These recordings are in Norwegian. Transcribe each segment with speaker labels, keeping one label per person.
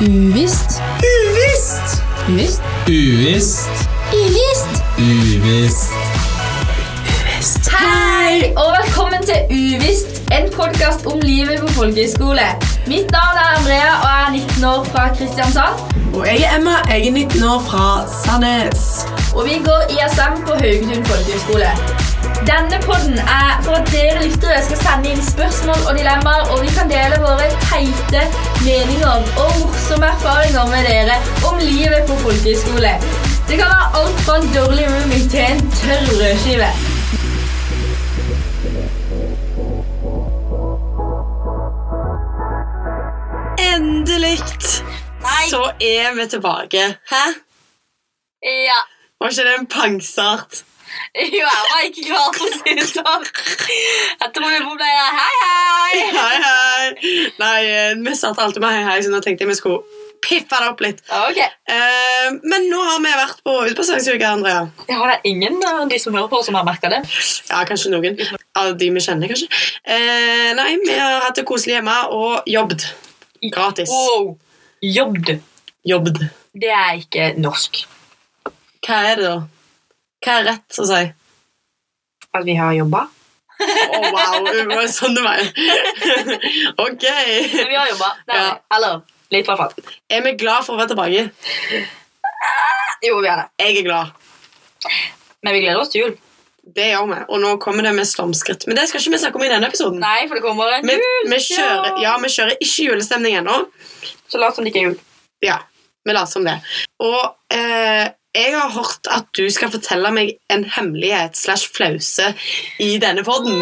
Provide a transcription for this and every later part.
Speaker 1: Uvisst.
Speaker 2: Uvisst!
Speaker 1: Uvisst.
Speaker 2: Uvisst.
Speaker 1: Uvisst.
Speaker 2: Uvisst.
Speaker 3: Hei, og velkommen til Uvisst, en podkast om livet på folkehøyskole. Mitt navn er Andrea, og jeg er 19 år fra Kristiansand.
Speaker 4: Og jeg er Emma, jeg er 19 år fra Sandnes.
Speaker 3: Og vi går ISM på Haugetun folkehøgskole. Denne podden er for at dere lyttere skal sende inn spørsmål og dilemmaer, og vi kan dele våre teite meninger og morsomme erfaringer med dere om livet på folkehøyskole. Det kan være alt fra en dårlig roomie til en tørr rødskive.
Speaker 4: Endelig så er vi tilbake. Hæ?
Speaker 5: Ja.
Speaker 4: Var ikke det en pangstart?
Speaker 5: Jo, jeg var ikke klar for å si det sånn. Jeg trodde på ble der, hei, hei.
Speaker 4: Hei, hei. Nei, eh, vi startet alltid med hei, hei, så nå tenkte jeg vi skulle piffe det opp litt.
Speaker 5: Ok.
Speaker 4: Eh, men nå har vi vært på utplasseringsuke, Andrea.
Speaker 5: Jeg har det er ingen av de som hører på som har merket det.
Speaker 4: Ja, kanskje noen av de vi kjenner, kanskje. Eh, nei, vi har hatt det koselig hjemme og jobbet. Gratis.
Speaker 5: Wow. Jobbd.
Speaker 4: Jobbet.
Speaker 5: Det er ikke norsk.
Speaker 4: Hva er det, da? Hva er rett å si?
Speaker 5: At vi har jobbet.
Speaker 4: Å, wow. Det var sånn det var. ok.
Speaker 5: Men vi har jobbet. Det er
Speaker 4: Ja.
Speaker 5: det. Eller, litt i hvert fall.
Speaker 4: Er vi glad for å være tilbake?
Speaker 5: Eh, Jo, vi er det.
Speaker 4: Jeg er glad.
Speaker 5: Men vi gleder oss til jul.
Speaker 4: Det gjør vi. Og nå kommer det med stormskritt. Men det skal ikke vi snakke om i denne episoden.
Speaker 5: Nei, for det kommer en
Speaker 4: Vi,
Speaker 5: jul.
Speaker 4: vi, kjører, ja, vi kjører ikke julestemning ennå.
Speaker 5: Så lat som det ikke er jul.
Speaker 4: Ja, vi later som det. Og eh, jeg har hørt at du skal fortelle meg en hemmelighet slash flause i denne podden.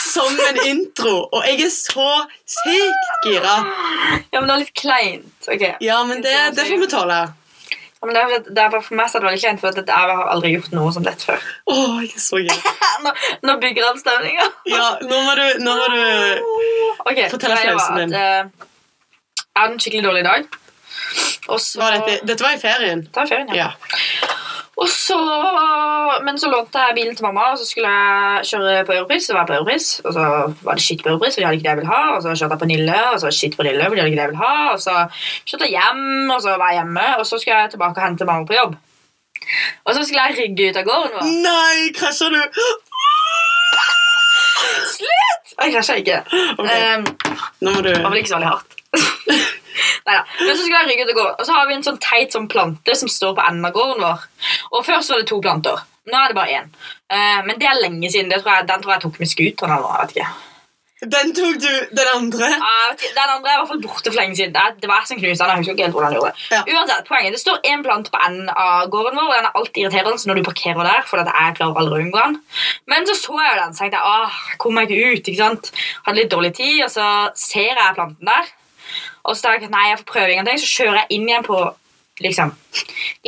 Speaker 4: Som en intro. Og jeg er så sykt gira.
Speaker 5: Ja, men det er litt kleint. Ok.
Speaker 4: Ja, men det, det får vi tåle.
Speaker 5: Ja, men det er, det er bare for meg så er det veldig kleint, for at jeg har aldri gjort noe sånn lett før.
Speaker 4: Å, jeg er så gira.
Speaker 5: Nå, nå bygger han stemninga.
Speaker 4: Ja, nå må du, nå må du
Speaker 5: Ok,
Speaker 4: Fortell
Speaker 5: greia var
Speaker 4: flausen din.
Speaker 5: at, eh, Jeg hadde en skikkelig dårlig dag. Og så
Speaker 4: var dette, dette var i ferien.
Speaker 5: Det var ferien, ja.
Speaker 4: Ja.
Speaker 5: Og så, men så lånte jeg bilen til mamma, og så skulle jeg kjøre på Europris. Og var jeg på Europris, og så var det shit på Europris, for de hadde ikke det jeg ville ha. Og så kjørte jeg på Nille, og så var det shit på Nille, for de hadde ikke det jeg ville ha. Og så kjørte jeg hjem, og så var jeg hjemme, og så skulle jeg tilbake og hente mamma på jobb. Og så skulle jeg rygge ut av gården. vår.
Speaker 4: Nei, krasja du?
Speaker 5: Jeg krasja ikke.
Speaker 4: Ok,
Speaker 5: Ehm,
Speaker 4: nå må du
Speaker 5: Det var vel ikke så veldig hardt. Neida. Men så skulle jeg rygge ut og gå. Og så har vi en sånn teit sånn plante som står på enden av gården vår. Og før så var det to planter. Nå er det bare én. Eh, men det er lenge siden. Det tror jeg, den tror jeg tok med scooteren eller noe. Jeg vet ikke.
Speaker 4: Den tok du, den andre.
Speaker 5: Ja, jeg vet ikke. Den andre er i hvert fall borte for lenge siden. Det, det var jeg som knuste den. Jeg husker ikke helt hvordan jeg gjorde det.
Speaker 4: Ja.
Speaker 5: Uansett, poenget. Det står én plant på enden av gården vår, og den er alltid irriterende så når du parkerer der, for at jeg klarer aldri å unngå den. Men så så jeg jo den, så tenkte jeg åh, jeg kom meg ikke ut, ikke sant. Hadde litt dårlig tid, og så ser jeg planten der. Og så tenker jeg nei, jeg får prøve ingenting, så kjører jeg inn igjen på liksom,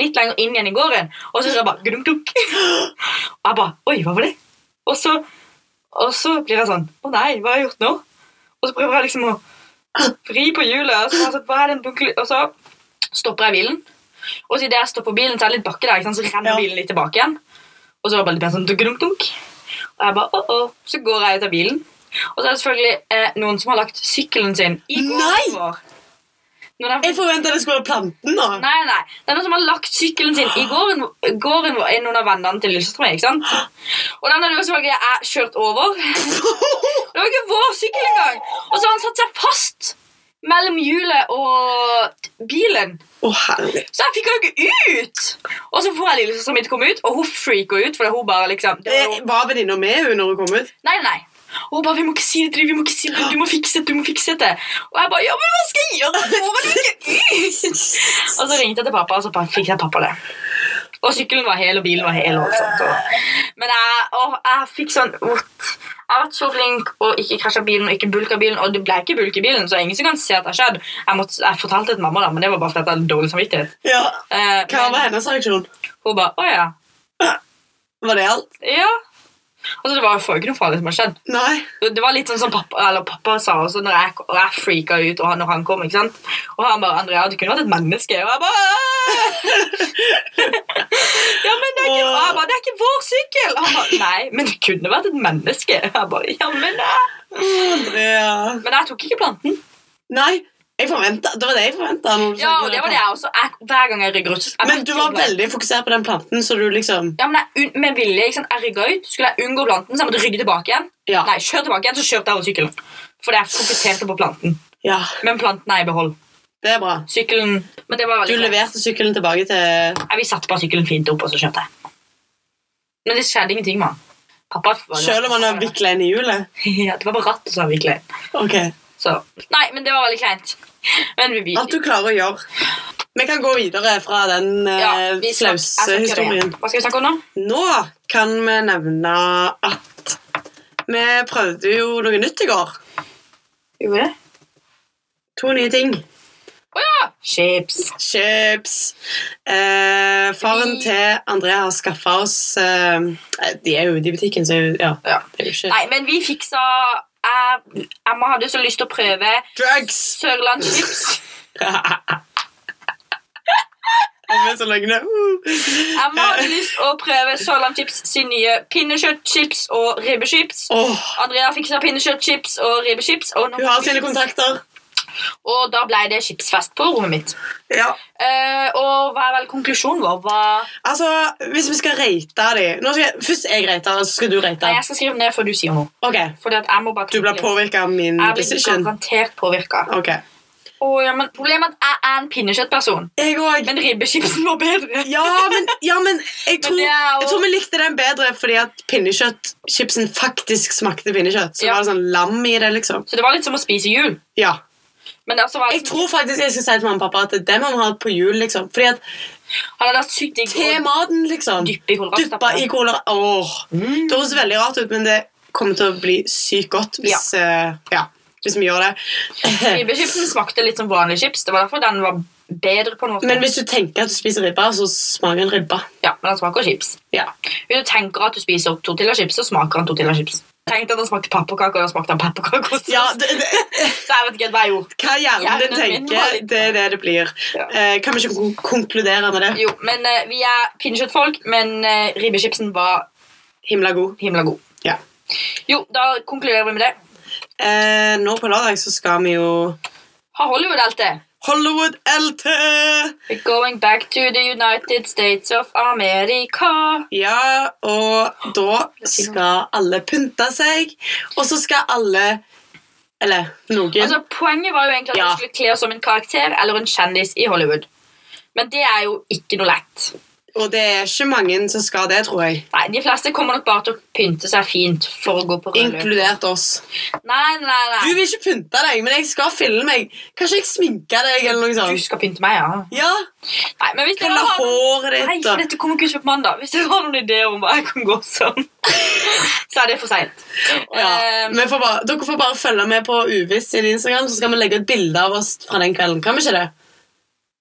Speaker 5: litt lenger inn igjen i gården, og så hører jeg bare gdunk-dunk. Og jeg bare Oi, hva var det? Og så, og så blir jeg sånn Å nei, hva har jeg gjort nå? Og så prøver jeg liksom å vri på hjulet, og så, bare sånn, hva er den bunkle-" og så stopper jeg bilen. Og så idet jeg stopper bilen, så er det litt bakke der, ikke sant? så renner
Speaker 4: Ja. bilen
Speaker 5: bilen litt tilbake igjen. Og så var det bare litt mer sånn dunk-dunk-dunk. Og jeg bare åh, åh. Så går jeg ut av bilen. Og så er det selvfølgelig eh, noen som har lagt sykkelen sin i
Speaker 4: Nei!
Speaker 5: gården vår. Noen har-
Speaker 4: Jeg forventa det skulle være planten nå.
Speaker 5: Nei, nei. Det er noen som har lagt sykkelen sin i gården, gården vår, er noen av vennene til Lillestrøm. ikke sant? Og den hadde jo selvfølgelig jeg kjørt over. Det var ikke vår sykkel engang! Og så har han satt seg fast mellom hjulet og bilen.
Speaker 4: Å, herlig.
Speaker 5: Så jeg fikk jo ikke ut! Og så får jeg lillesøsteren min til å komme ut, og hun freaker ut. fordi hun bare liksom... Det var
Speaker 4: Eh, Var venninna med hun når hun kom ut?
Speaker 5: Nei, nei. Og hun bare 'Vi må ikke si det til dem, vi må ikke si det, du må fikse det, du må fikse det'. Og jeg bare 'Ja, men hva skal jeg gjøre? Jeg Får vel ikke ut?' Og så ringte jeg til pappa, og så bare fikk jeg pappa det. Og sykkelen var hel, og bilen var hel. og alt sånt. Og... Men jeg, åh, jeg fikk sånn vondt. Jeg har vært så flink og ikke krasja bilen og ikke bulka bilen. Og det ble ikke bulk i bilen, så det er ingen som kan se at det har skjedd. Jeg, måtte, jeg fortalte det til mamma, da, men det var bare fordi jeg hadde dårlig samvittighet.
Speaker 4: Ja.
Speaker 5: Eh,
Speaker 4: Hva
Speaker 5: men
Speaker 4: var hennes reaksjon?
Speaker 5: hun bare 'Å ja'.
Speaker 4: Var det alt?
Speaker 5: Ja. Altså, det var jo ikke noe farlig som har skjedd.
Speaker 4: Nei.
Speaker 5: Det var litt sånn som pappa, eller pappa sa også når jeg, og jeg freaka ut og han, når han kom. ikke sant? Og han bare 'Andrea, du kunne vært et menneske.' Og jeg bare «Åh!» Ja, men det er, ikke, og jeg bare, det er ikke vår sykkel! Og han bare Nei, men du kunne vært et menneske. Jeg bare, ja, men, eh.
Speaker 4: Andrea.
Speaker 5: men jeg tok ikke planten.
Speaker 4: Nei. Jeg forventet, det var det jeg forventa.
Speaker 5: Ja, og det var det jeg også. Jeg, hver gang jeg rygger ut, så jeg
Speaker 4: Men
Speaker 5: vet
Speaker 4: du
Speaker 5: jo
Speaker 4: var
Speaker 5: bare-
Speaker 4: veldig fokusert på den planten, så du liksom
Speaker 5: Ja, men jeg, un- med vilje, ikke sant? Jeg rygga ut, skulle jeg unngå planten, så jeg måtte rygge tilbake igjen.
Speaker 4: Ja.
Speaker 5: Nei, kjør tilbake igjen, så kjørte jeg over sykkelen. Fordi jeg fokuserte på planten.
Speaker 4: ja
Speaker 5: Men planten er i behold.
Speaker 4: det er bra.
Speaker 5: Sykkelen Men det var
Speaker 4: Du
Speaker 5: veldig bra.
Speaker 4: leverte sykkelen tilbake til
Speaker 5: Ja, Vi satte bare sykkelen fint opp, og så kjørte jeg. Men det skjedde ingenting med han. Pappa var
Speaker 4: Selv om han har vikla inn i hjulet?
Speaker 5: Ja, det var bare rattet som var vikla inn.
Speaker 4: Ok.
Speaker 5: Så Nei, men det var veldig kleint. Men vi, vi
Speaker 4: Alt du klarer å gjøre. Vi kan gå videre fra den eh,
Speaker 5: vi skal- jeg skal
Speaker 4: flause
Speaker 5: ikke gjøre det
Speaker 4: historien.
Speaker 5: igjen. Hva skal vi snakke om nå?
Speaker 4: Nå kan vi nevne at vi prøvde jo noe nytt i går.
Speaker 5: Gjorde det?
Speaker 4: To nye ting.
Speaker 5: Å ja! Chips.
Speaker 4: Chips. Eh, faren
Speaker 5: Vi-
Speaker 4: til Andrea har skaffa oss eh, De er jo ute i butikken, så ja.
Speaker 5: Ja.
Speaker 4: Det er jo ikke
Speaker 5: Nei, men vi fiksa jeg, jeg hadde så lyst til å prøve
Speaker 4: Drugs!
Speaker 5: Sørlandschips.
Speaker 4: Jeg er så løgne. Uh.
Speaker 5: Emma hadde lyst til å prøve Sørlandschips sin nye pinnekjøttchips og ribbechips.
Speaker 4: Åh,
Speaker 5: Andrea fiksa pinnekjøttchips og ribbechips, og, nå-
Speaker 4: hun har sine kontakter.
Speaker 5: og da ble det chipsfest på rommet mitt.
Speaker 4: Ja.
Speaker 5: Eh, og hva er vel konklusjonen vår? Hva,
Speaker 4: Altså, Hvis vi skal rate dem Nå skal jeg, Først jeg rater, og så skal du rate.
Speaker 5: nei, jeg skal skrive den ned før du sier noe.
Speaker 4: Ok,
Speaker 5: Fordi at jeg må bare
Speaker 4: Du ble påvirka av min
Speaker 5: Jeg blir
Speaker 4: decision.
Speaker 5: garantert påvirka.
Speaker 4: Ok.
Speaker 5: ja, men problemet er at jeg er en pinnekjøttperson.
Speaker 4: Jeg òg.
Speaker 5: Men ribbechipsen var bedre.
Speaker 4: Ja, men, ja, men jeg, tror,
Speaker 5: det er jo-
Speaker 4: jeg tror vi likte den bedre fordi at pinnekjøttchipsen faktisk smakte pinnekjøtt. Så
Speaker 5: Ja.
Speaker 4: var det sånn lam i det, liksom.
Speaker 5: Så det var litt som å spise jul.
Speaker 4: Ja.
Speaker 5: Men det altså var
Speaker 4: Jeg tror faktisk jeg skal si til mamma og pappa at det er det vi må ha på jul, liksom. Fordi at
Speaker 5: Han hadde vært sykt digg
Speaker 4: til maten, liksom.
Speaker 5: dyppe i
Speaker 4: Duppa i
Speaker 5: kålrabistappe.
Speaker 4: cola. Åh. Det høres veldig rart ut, men det kommer til å bli sykt godt hvis, eh, ja, hvis vi gjør det.
Speaker 5: Ribbechipsen smakte litt som vanlig chips. Det var derfor den var bedre på en måte.
Speaker 4: Men hvis du tenker at du spiser ribba, så smaker den ribba.
Speaker 5: Ja, men den smaker chips.
Speaker 4: Ja.
Speaker 5: Hvis du tenker at du spiser opp tortillachips, så smaker den tortillachips. Tenkte at den smakte pepperkake, og da smakte den pepperkake.
Speaker 4: ja det, det,
Speaker 5: Så jeg vet ikke helt hva jeg gjorde.
Speaker 4: hva hjernen din
Speaker 5: Hjernen min var
Speaker 4: tenker,
Speaker 5: litt-
Speaker 4: det er det det blir.
Speaker 5: Ja.
Speaker 4: Eh, kan vi ikke kon- konkludere med det?
Speaker 5: Jo, men eh, vi er pinnekjøttfolk, men uh, ribbechipsen var
Speaker 4: Himla god.
Speaker 5: himla god.
Speaker 4: Ja.
Speaker 5: Jo, da konkluderer vi med det.
Speaker 4: Eh, nå på lørdag så skal vi jo
Speaker 5: Har Hollywood alt det?
Speaker 4: Hollywood LT!
Speaker 5: We're going back to the United States of America.
Speaker 4: Ja, og da skal alle pynte seg, og så skal alle Eller noen.
Speaker 5: Altså, poenget var jo egentlig at
Speaker 4: Ja.
Speaker 5: vi skulle kle oss som en karakter eller en kjendis i Hollywood. Men det er jo ikke noe lett.
Speaker 4: Og det er ikke mange som skal det, tror jeg.
Speaker 5: Nei, De fleste kommer nok bare til å pynte seg fint for å gå på rød løper.
Speaker 4: Inkludert oss.
Speaker 5: Nei, nei, nei.
Speaker 4: Du vil ikke pynte deg, men jeg skal filme meg. Kanskje jeg sminker deg, eller noe
Speaker 5: Du
Speaker 4: sånt.
Speaker 5: skal pynte meg, ja.
Speaker 4: Ja,
Speaker 5: Nei, men hvis dere
Speaker 4: Kalle
Speaker 5: har noen...
Speaker 4: håret
Speaker 5: Nei,
Speaker 4: ditt
Speaker 5: for
Speaker 4: og
Speaker 5: dette kommer ikke ut på mandag. Hvis dere har noen ideer om hva jeg kan gå som, så er det for seint.
Speaker 4: ja.
Speaker 5: Eh,
Speaker 4: vi får bare, Dere får bare følge med på Uvisst sin Instagram, så skal vi legge ut bilde av oss fra den kvelden. Kan vi ikke det?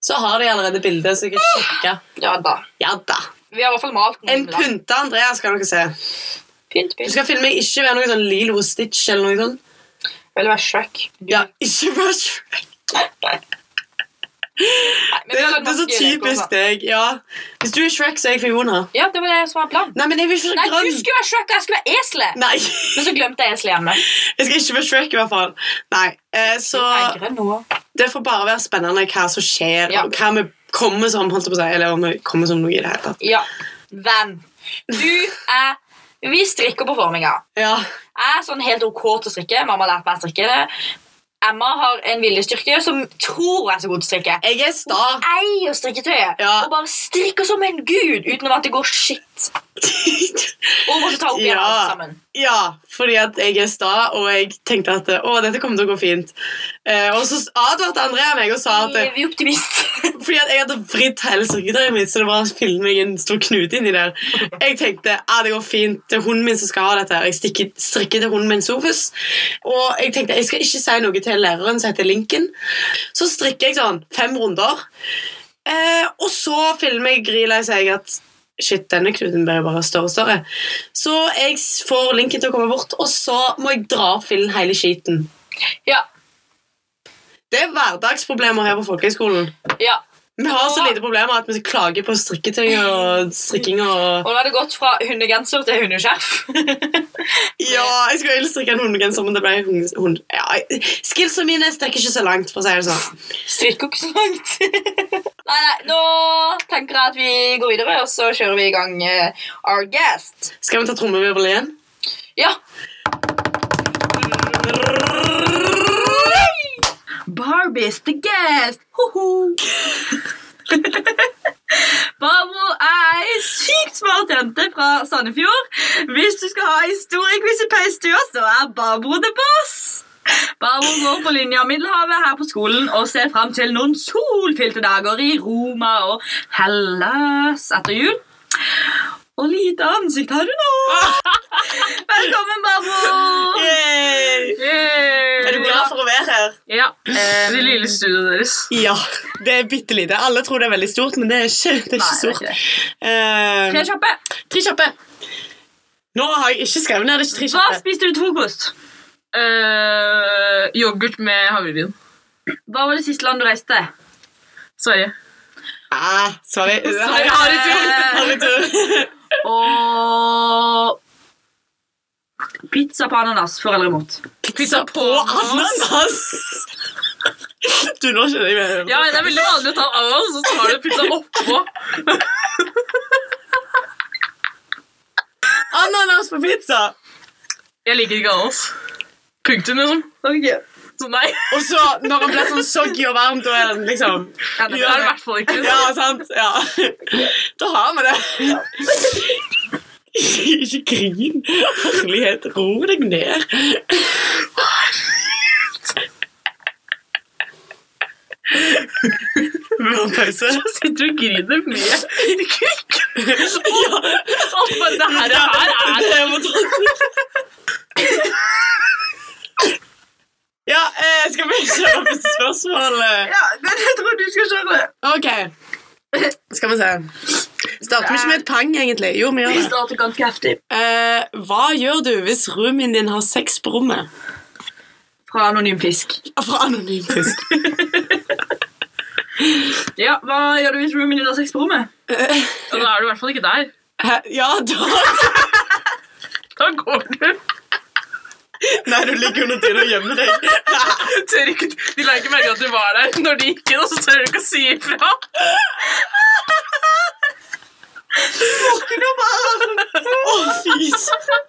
Speaker 4: Så har de allerede bilde, så jeg kan sjekke.
Speaker 5: ja da.
Speaker 4: Ja da.
Speaker 5: Vi har i hvert fall malt noen.
Speaker 4: En
Speaker 5: da.
Speaker 4: pynta Andrea skal dere se.
Speaker 5: Pynt,
Speaker 4: Du
Speaker 5: pynt.
Speaker 4: skal filme ikke være noe sånn Lilo og Stitch eller noe sånt.
Speaker 5: Vil være Shrek.
Speaker 4: Ja, ikke være Shrek.
Speaker 5: Nei, men vi
Speaker 4: Det,
Speaker 5: har lagd
Speaker 4: det er så
Speaker 5: masse gøy leker også.
Speaker 4: typisk deg. Ja. Hvis du er Shrek, så er jeg Fiona.
Speaker 5: Ja, det var det som var planen.
Speaker 4: Nei, men jeg vil ikke
Speaker 5: Nei,
Speaker 4: være
Speaker 5: du
Speaker 4: grønn.
Speaker 5: skulle være Shrek, og jeg skulle være eselet.
Speaker 4: Nei,
Speaker 5: Men så glemte jeg eselet hjemme.
Speaker 4: jeg skal ikke være Shrek i hvert fall. Nei, eh, så
Speaker 5: Jeg er grønn nå.
Speaker 4: det får bare være spennende hva som skjer,
Speaker 5: Ja.
Speaker 4: og hva vi kommer som, holdt jeg på å si, eller om vi kommer som noe i det hele tatt.
Speaker 5: Ja. Venn. Du er Vi strikker på forminga.
Speaker 4: Ja,
Speaker 5: Jeg er sånn helt OK til å strikke. Mamma har lært meg å strikke. Emma har en viljestyrke som tror hun er så god til å strikke.
Speaker 4: jeg er sta.
Speaker 5: Eier strikketøyet
Speaker 4: Ja.
Speaker 5: og bare strikker som en gud uten at det går shit. Og hun måtte ta opp igjen
Speaker 4: Ja.
Speaker 5: alt sammen.
Speaker 4: ja, fordi at jeg er sta, og jeg tenkte at, å, dette kommer til å gå fint. Eh, og så advarte Andrea meg og sa at,
Speaker 5: Evig optimist.
Speaker 4: fordi at jeg hadde vridd hele strikketøyet mitt, så det bare fylte meg en stor knute inni der. Jeg tenkte ja, det går fint, det er hunden min som skal ha dette. her. Jeg stikker, strikker til hunden min Sofus. Og jeg tenkte jeg skal ikke si noe til læreren som heter Lincoln. Så strikker jeg sånn fem runder, eh, og så filmer jeg Grila i seg at Shit, denne knuten blir jo bare større og større. Så jeg s- får Lincoln til å komme bort, og så må jeg dra opp fillen hele skiten.
Speaker 5: Ja.
Speaker 4: Det er hverdagsproblemer her på folkehøyskolen.
Speaker 5: ja.
Speaker 4: Vi har så lite problemer at vi skal klage på strikketøy og strikking og
Speaker 6: Og nå har det gått fra hundegenser til hundeskjerf.
Speaker 4: Ja, jeg skulle egentlig strikke en hundegenser, men det ble hund... hund ja, jeg- skillsene mine strekker ikke så langt, for å si det sånn.
Speaker 6: Strikker ikke så langt. nei, nei, nå tenker jeg at vi går videre, og så kjører vi i gang eh, Our Guest.
Speaker 4: Skal vi ta trommevirvel igjen?
Speaker 6: Ja. Barbie's the guest. Ho-ho. Barbro er ei sykt smart jente fra Sandefjord. Hvis du skal ha historiequiz i peistua, så er Barbro the boss. Barbro går på linja Middelhavet her på skolen og ser fram til noen solfylte dager i Roma og Hellas etter jul. Og lite ansikt har du nå! Velkommen, Barbro!
Speaker 4: Yay! Er du glad for å være her?
Speaker 6: Ja.
Speaker 5: Ehm,
Speaker 6: det lille studioet deres.
Speaker 4: Ja. Det er bitte lite. Alle tror det er veldig stort, men det er ikke, det er ikke
Speaker 6: Nei,
Speaker 4: stort.
Speaker 6: det er
Speaker 4: Eh,
Speaker 6: Tre kjappe.
Speaker 4: tre kjappe. Nå har jeg ikke skrevet ned. Det er ikke tre
Speaker 5: Hva
Speaker 4: kjappe.
Speaker 5: spiste du til frokost?
Speaker 7: Eh, yoghurt med havregryn.
Speaker 5: Hva var det siste land du reiste?
Speaker 7: Sverige.
Speaker 4: Ah, sorry.
Speaker 7: Sorry, har
Speaker 4: Harry-tur.
Speaker 5: Og Pizza på ananas, for eller imot.
Speaker 4: Pizza på ananas. Du når ikke det jeg mener.
Speaker 7: Ja, Det er veldig vanlig å ta ananas, og så tar du pizza oppå.
Speaker 4: Ananas på pizza!
Speaker 7: Jeg liker ikke ananas. Punktum, liksom.
Speaker 5: Okay.
Speaker 7: Så nei.
Speaker 4: Og så, når det blir sånn soggy og varmt, og en, liksom
Speaker 7: Ja, det er det i hvert fall ikke.
Speaker 4: Ja, sant? Ja. Da har vi det. Ikke grin. Herlighet, ro deg ned. Vi har en pause.
Speaker 7: Sitter og griner med
Speaker 4: Ja,
Speaker 7: Å, men Det her, det her er
Speaker 4: det må tas. Ja, eh, skal vi kjøre på spørsmålet?
Speaker 5: Ja, men jeg tror du skal kjøre.
Speaker 4: Ok. Skal vi se. Starter vi ikke med et pang, egentlig? Jo, vi gjør
Speaker 5: Vi
Speaker 4: det.
Speaker 5: starter ganske heftig.
Speaker 4: Eh, hva gjør du hvis roomien din har sex på rommet?
Speaker 5: Fra Anonym Fisk.
Speaker 4: Fra anonym fisk.
Speaker 5: Ja, Hva gjør du hvis roomien din har sex på rommet?
Speaker 7: Og da er du i hvert fall ikke der.
Speaker 4: Hæ? Ja, da
Speaker 7: Da går du.
Speaker 4: Nei, du ligger under dyna og gjemmer deg.
Speaker 7: Tør ikke, de la ikke merke til at du var der når de gikk inn, og så tør du ikke å si ifra.
Speaker 4: Å, fy søren.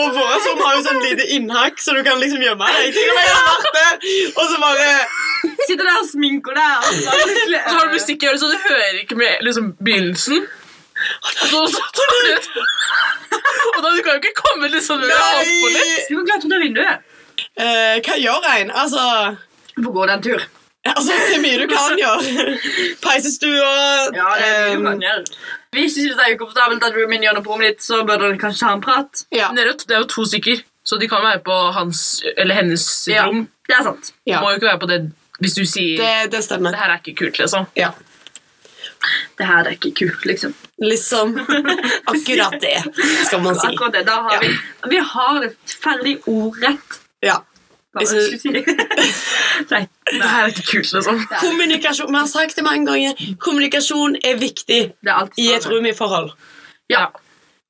Speaker 4: Og våre som har jo sånn lite innhakk, så du kan liksom gjemme deg. Tenk om jeg hadde vært der, og så bare
Speaker 5: Sitter der og sminker deg. Og så
Speaker 7: Så har du musikk i øret, så du hører ikke med liksom, begynnelsen. Og så, så tar du ut Og da du kan jo ikke komme liksom når du har holdt på litt.
Speaker 4: Nei!
Speaker 5: Du kan klatre ut av vinduet.
Speaker 4: Eh, hva gjør en? Altså,
Speaker 5: Du får gå deg en tur.
Speaker 4: altså Det er mye du kan gjøre. Peisestua
Speaker 5: Ja, det er mye du
Speaker 4: ehm,
Speaker 5: kan gjøre. Hvis du synes det er ukomfortabelt at roomien gjør noe på rommet ditt, så bør dere kanskje ha en prat.
Speaker 4: ja,
Speaker 7: Men Det er jo- det er jo to stykker, så de kan være på hans eller hennes sitt
Speaker 5: Ja.
Speaker 7: rom.
Speaker 5: Det er sant.
Speaker 4: ja.
Speaker 7: Må jo ikke være på det hvis du sier
Speaker 4: Det,
Speaker 7: det,
Speaker 4: det stemmer.
Speaker 7: her er ikke kult, liksom.
Speaker 4: Ja.
Speaker 5: Det her er ikke kult, liksom.
Speaker 4: Liksom akkurat det, skal man si.
Speaker 5: Akkurat det. Da har
Speaker 4: Ja.
Speaker 5: vi, vi har det ferdig ordrett.
Speaker 4: Ja.
Speaker 5: Hva var det jeg skulle si? Nei.
Speaker 7: Det her er ikke kult, liksom.
Speaker 4: Kommunikasjon vi har sagt det mange ganger, kommunikasjon er viktig
Speaker 5: Det er alt
Speaker 4: i et rom i forhold.
Speaker 5: Ja.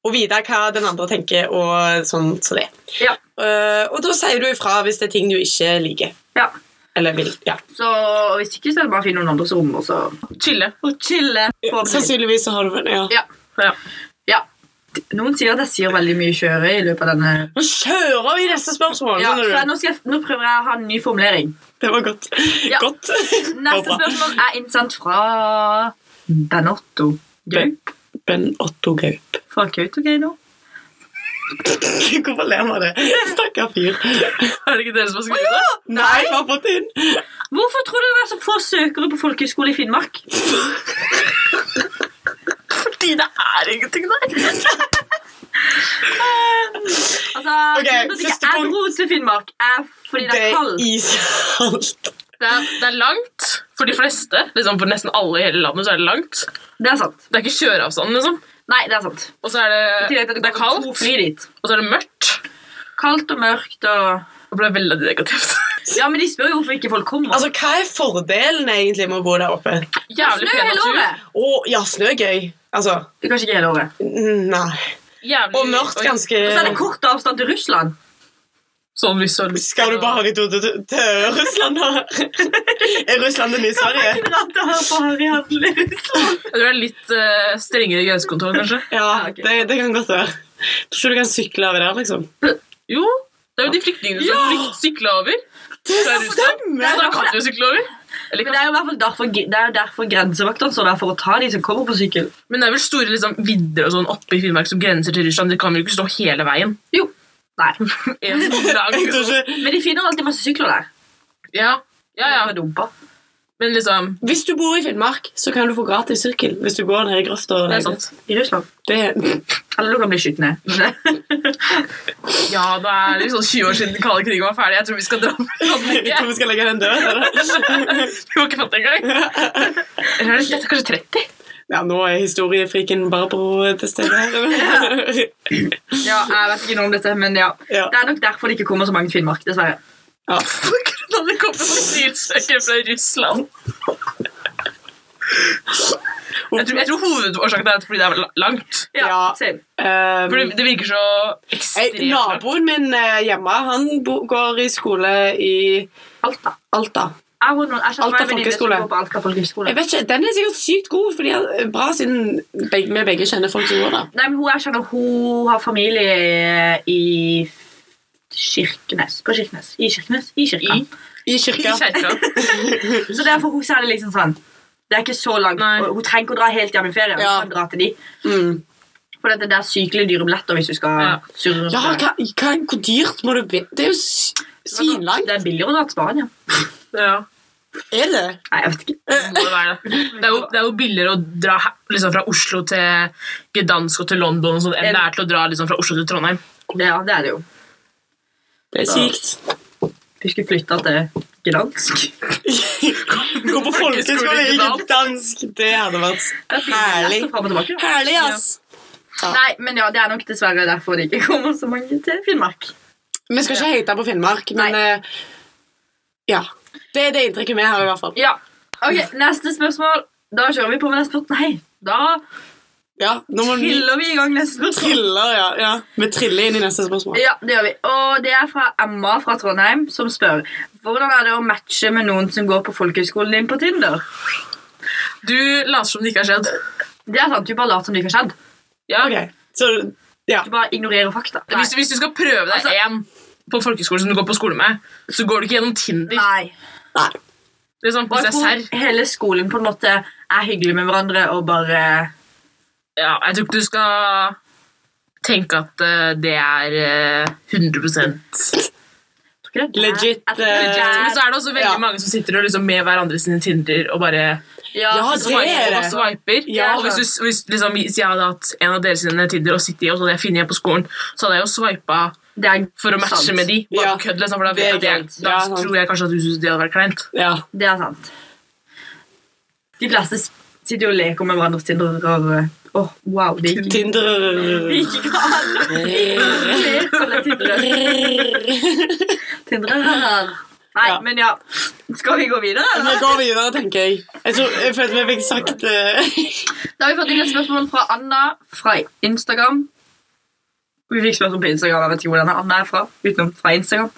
Speaker 4: Å vite hva den andre tenker, og sånn som det.
Speaker 5: Ja.
Speaker 4: Eh, og da sier du ifra hvis det er ting du ikke liker.
Speaker 5: Ja.
Speaker 4: Eller vil. Ja.
Speaker 5: Så hvis ikke, så er det bare å finne noen andres rom og så
Speaker 7: Chille.
Speaker 5: og chille. forhåpentlig.
Speaker 4: Sannsynligvis så har du det. Ja.
Speaker 5: Noen sier at jeg sier veldig mye kjøre i løpet av denne
Speaker 4: Nå kjører vi neste spørsmål!
Speaker 5: ja, så
Speaker 4: skjønner du?
Speaker 5: nå, skal jeg, nå prøver jeg å ha en ny formulering.
Speaker 4: Det var godt.
Speaker 5: Ja.
Speaker 4: godt.
Speaker 5: Neste
Speaker 4: Bra.
Speaker 5: spørsmål er innsendt fra Benotto Gaup
Speaker 4: Ben Otto Gaup.
Speaker 5: fra Kautokeino.
Speaker 4: Hvorfor ler vi av det? Stakkar fyr.
Speaker 7: Er det ikke dere som har skrevet det?
Speaker 4: Nei, vi har fått det inn.
Speaker 5: Hvorfor tror du det er så få søkere på folkehøyskole i Finnmark?
Speaker 7: Fordi det er ingenting der.
Speaker 5: Altså,
Speaker 4: Ok,
Speaker 5: grunnen til at det
Speaker 4: siste
Speaker 5: ikke er
Speaker 4: punkt.
Speaker 5: dro til Finnmark, er fordi det
Speaker 4: Det
Speaker 5: er
Speaker 4: er
Speaker 5: kaldt.
Speaker 4: iskaldt.
Speaker 7: Det er, det er langt for de fleste. Liksom for nesten alle i hele landet så er det langt.
Speaker 5: Det er sant.
Speaker 7: Det er ikke kjøreavstanden, liksom.
Speaker 5: Nei, det er sant.
Speaker 7: Og så er
Speaker 5: I
Speaker 7: det,
Speaker 5: tillegg til at
Speaker 7: det er
Speaker 5: går
Speaker 7: kaldt,
Speaker 5: to fly dit.
Speaker 7: og så er det mørkt.
Speaker 5: Kaldt og mørkt og
Speaker 7: Det ble veldig negativt.
Speaker 5: Ja, men de spør jo hvorfor ikke folk kommer.
Speaker 4: Altså, Hva er fordelen egentlig med å bo der oppe?
Speaker 7: Jævlig
Speaker 5: Snø
Speaker 7: pen
Speaker 5: hele
Speaker 7: natur.
Speaker 5: året.
Speaker 4: Å, ja, snø er gøy. Altså,
Speaker 5: Kanskje ikke hele året.
Speaker 4: n- nei.
Speaker 7: Jævlig,
Speaker 4: Og mørkt
Speaker 7: Oi.
Speaker 4: ganske
Speaker 5: Og så er det kort avstand til Russland.
Speaker 7: Sånn hvis du har lyst
Speaker 4: Skal du bare til, til, til Russland, da? er Russland det nye Sverige?
Speaker 5: Rart å høre på Harry Handel i Russland.
Speaker 7: Jeg tror det er litt eh, strengere grensekontroll, kanskje.
Speaker 4: Ja, det, det kan godt være. Tror ikke du kan sykle over der, liksom?
Speaker 7: Jo, det er jo de flyktningene som flykt sykler over. Fra Russland. Så da kan du jo sykle over. Eller
Speaker 5: Men det er jo i hvert fall derfor, det er jo derfor grensevaktene står der, for å ta de som kommer på sykkel.
Speaker 7: Men det er vel store liksom, vidder og sånn oppe i Finnmark som grenser til Russland. De kan vel ikke stå hele veien?
Speaker 5: Jo. Nei.
Speaker 7: En sånn lang,
Speaker 4: Jeg tror ikke...
Speaker 5: Men de finner alltid masse sykler der.
Speaker 7: ja. ja,
Speaker 5: Det er
Speaker 7: ja.
Speaker 5: dumpa.
Speaker 7: Men liksom
Speaker 4: Hvis du bor i Finnmark, så kan du få gratis sykkel hvis du går ned i grøfta. og
Speaker 7: Det er
Speaker 4: legger-
Speaker 7: sant.
Speaker 5: I Russland.
Speaker 4: Det,
Speaker 5: Eller du kan bli skutt ned.
Speaker 7: Ja, det er liksom 20 år siden den kalde krigen var ferdig. Jeg tror vi skal dra
Speaker 4: jeg tror
Speaker 7: på
Speaker 4: vi skal legge den død. Eller?
Speaker 7: Vi var ikke fattig engang. Eller er det dette er kanskje 30?
Speaker 4: Ja, nå er historiefriken Barbro til stede her.
Speaker 5: Ja, jeg vet ikke noe om dette, men ja.
Speaker 4: Ja.
Speaker 5: Det er nok derfor det ikke kommer så mange til Finnmark, dessverre.
Speaker 4: Ja.
Speaker 7: På grunn av det kommer asylsøkere fra Russland. Jeg tror, jeg tror hovedårsaken er at fordi det er langt.
Speaker 5: Ja,
Speaker 4: Ja.
Speaker 5: same.
Speaker 4: Um,
Speaker 7: For det, det virker så ekstremt
Speaker 4: eh,
Speaker 7: langt.
Speaker 4: naboen min eh, hjemme han bo, går i skole i
Speaker 5: Alta.
Speaker 4: Alta.
Speaker 5: Jeg var noen, jeg kjenner
Speaker 4: Alta
Speaker 5: meg en venninne som
Speaker 4: folkehøyskole.
Speaker 5: går på Alta folkehøyskole.
Speaker 4: Jeg vet ikke, Den er sikkert sykt god, for er bra siden beg- vi begge kjenner folk som går der.
Speaker 5: Nei, men hun jeg kjenner, hun har familie i Kirkenes. På Kirkenes. I Kirkenes. I kirka.
Speaker 4: I
Speaker 7: I
Speaker 4: kirka.
Speaker 7: kjerka.
Speaker 5: Så derfor hun sa det liksom sånn. Det er ikke så langt.
Speaker 7: Nei.
Speaker 5: Og Hun trenger ikke å dra helt hjem i ferien.
Speaker 4: Ja.
Speaker 5: Hun kan dra til de.
Speaker 4: Mm.
Speaker 5: For dette der er sykelig dyre billetter hvis du skal
Speaker 7: Ja.
Speaker 5: surre.
Speaker 4: Ja,
Speaker 5: rundt der.
Speaker 4: hva, hva, hvor dyrt må det bli? Det er jo s- svinlangt.
Speaker 5: Det er billigere å dra til Spania.
Speaker 7: Ja.
Speaker 4: Er det?
Speaker 5: Nei, jeg vet ikke.
Speaker 7: Det må det være det. Det er jo, det er jo billigere å dra he- liksom, fra Oslo til Gdansk og til London og sånn, enn det er til å dra liksom, fra Oslo til Trondheim.
Speaker 5: Det, ja, det er det jo.
Speaker 4: Det er sykt.
Speaker 5: Vi skulle flytta til Gdansk.
Speaker 4: Gå på folkeskole i
Speaker 7: Folkeskole i
Speaker 4: dansk. Det hadde vært herlig.
Speaker 5: Så frem og tilbake, da.
Speaker 4: Herlig, ass.
Speaker 5: Nei, men ja, det er nok dessverre derfor det ikke kommer så mange til Finnmark.
Speaker 4: Vi skal ikke hate på Finnmark, men eh, ja. Det er det inntrykket vi har, i hvert fall.
Speaker 5: Ja. Ok, Neste spørsmål. Da kjører vi på med neste spørsmål. Nei, da
Speaker 4: Ja, nå må vi
Speaker 5: triller vi i gang neste spørsmål.
Speaker 4: triller, ja, ja. Vi triller inn i neste spørsmål.
Speaker 5: Ja, det gjør vi. Og det er fra Emma fra Trondheim som spør hvordan er det å matche med noen som går på folkehøyskolen din på Tinder.
Speaker 7: Du later som det ikke har skjedd.
Speaker 5: Det er sant, Du bare later som det ikke har skjedd.
Speaker 7: Ja.
Speaker 4: Ok, så ja.
Speaker 5: Du bare ignorerer fakta.
Speaker 7: Hvis, hvis du skal prøve deg én på folkeskole som du går på skole med, så går du ikke gjennom Tinder.
Speaker 5: Nei.
Speaker 4: Nei.
Speaker 7: Det er sånn,
Speaker 5: Og
Speaker 7: hvis
Speaker 5: jeg
Speaker 7: jeg er serr.
Speaker 5: tror hele skolen på en måte er hyggelig med hverandre og bare
Speaker 7: Ja, jeg tror ikke du skal tenke at eh, det er eh, 100
Speaker 5: Tror ikke det er-
Speaker 4: Legit,
Speaker 5: Jeg tror ikke det
Speaker 4: eh,
Speaker 7: Men
Speaker 5: er-
Speaker 7: så er det også veldig
Speaker 4: Ja.
Speaker 7: mange som sitter og liksom med hverandre sine Tinder og bare
Speaker 5: Ja,
Speaker 4: Ja,
Speaker 5: så-
Speaker 4: det er
Speaker 7: swiper.
Speaker 4: det.
Speaker 7: Og swiper.
Speaker 4: Ja.
Speaker 7: Og hvis, du, hvis, liksom, hvis jeg hadde hatt en av deres sine Tinder å sitte i, og så hadde jeg funnet en på skolen, så hadde jeg jo swipa
Speaker 5: det er
Speaker 7: for å matche
Speaker 5: sant.
Speaker 7: med de. Bare
Speaker 4: Ja.
Speaker 7: på kødd, liksom, for da, vet jeg at
Speaker 4: Det er
Speaker 7: jeg,
Speaker 4: sant.
Speaker 7: da
Speaker 4: Ja, sant.
Speaker 7: tror jeg kanskje at du synes det hadde vært kleint.
Speaker 4: ja.
Speaker 5: Det er sant. De fleste s- sitter jo og leker med hverandres Tinder og eh, Åh, wow, det gikk
Speaker 4: Tinder
Speaker 5: det gikk ikke an! Leker med Tinder. Tinder er- Nei,
Speaker 4: Ja.
Speaker 5: men ja. Skal vi gå videre? eller?
Speaker 4: Vi går videre, tenker jeg. Jeg, tror, jeg følte vi fikk sagt eh,
Speaker 5: Da har vi fått inn et spørsmål fra Anna fra Instagram. Vi fikk spørsmål på Instagram, jeg vet ikke hvor denne Anna er fra, utenom fra Instagram.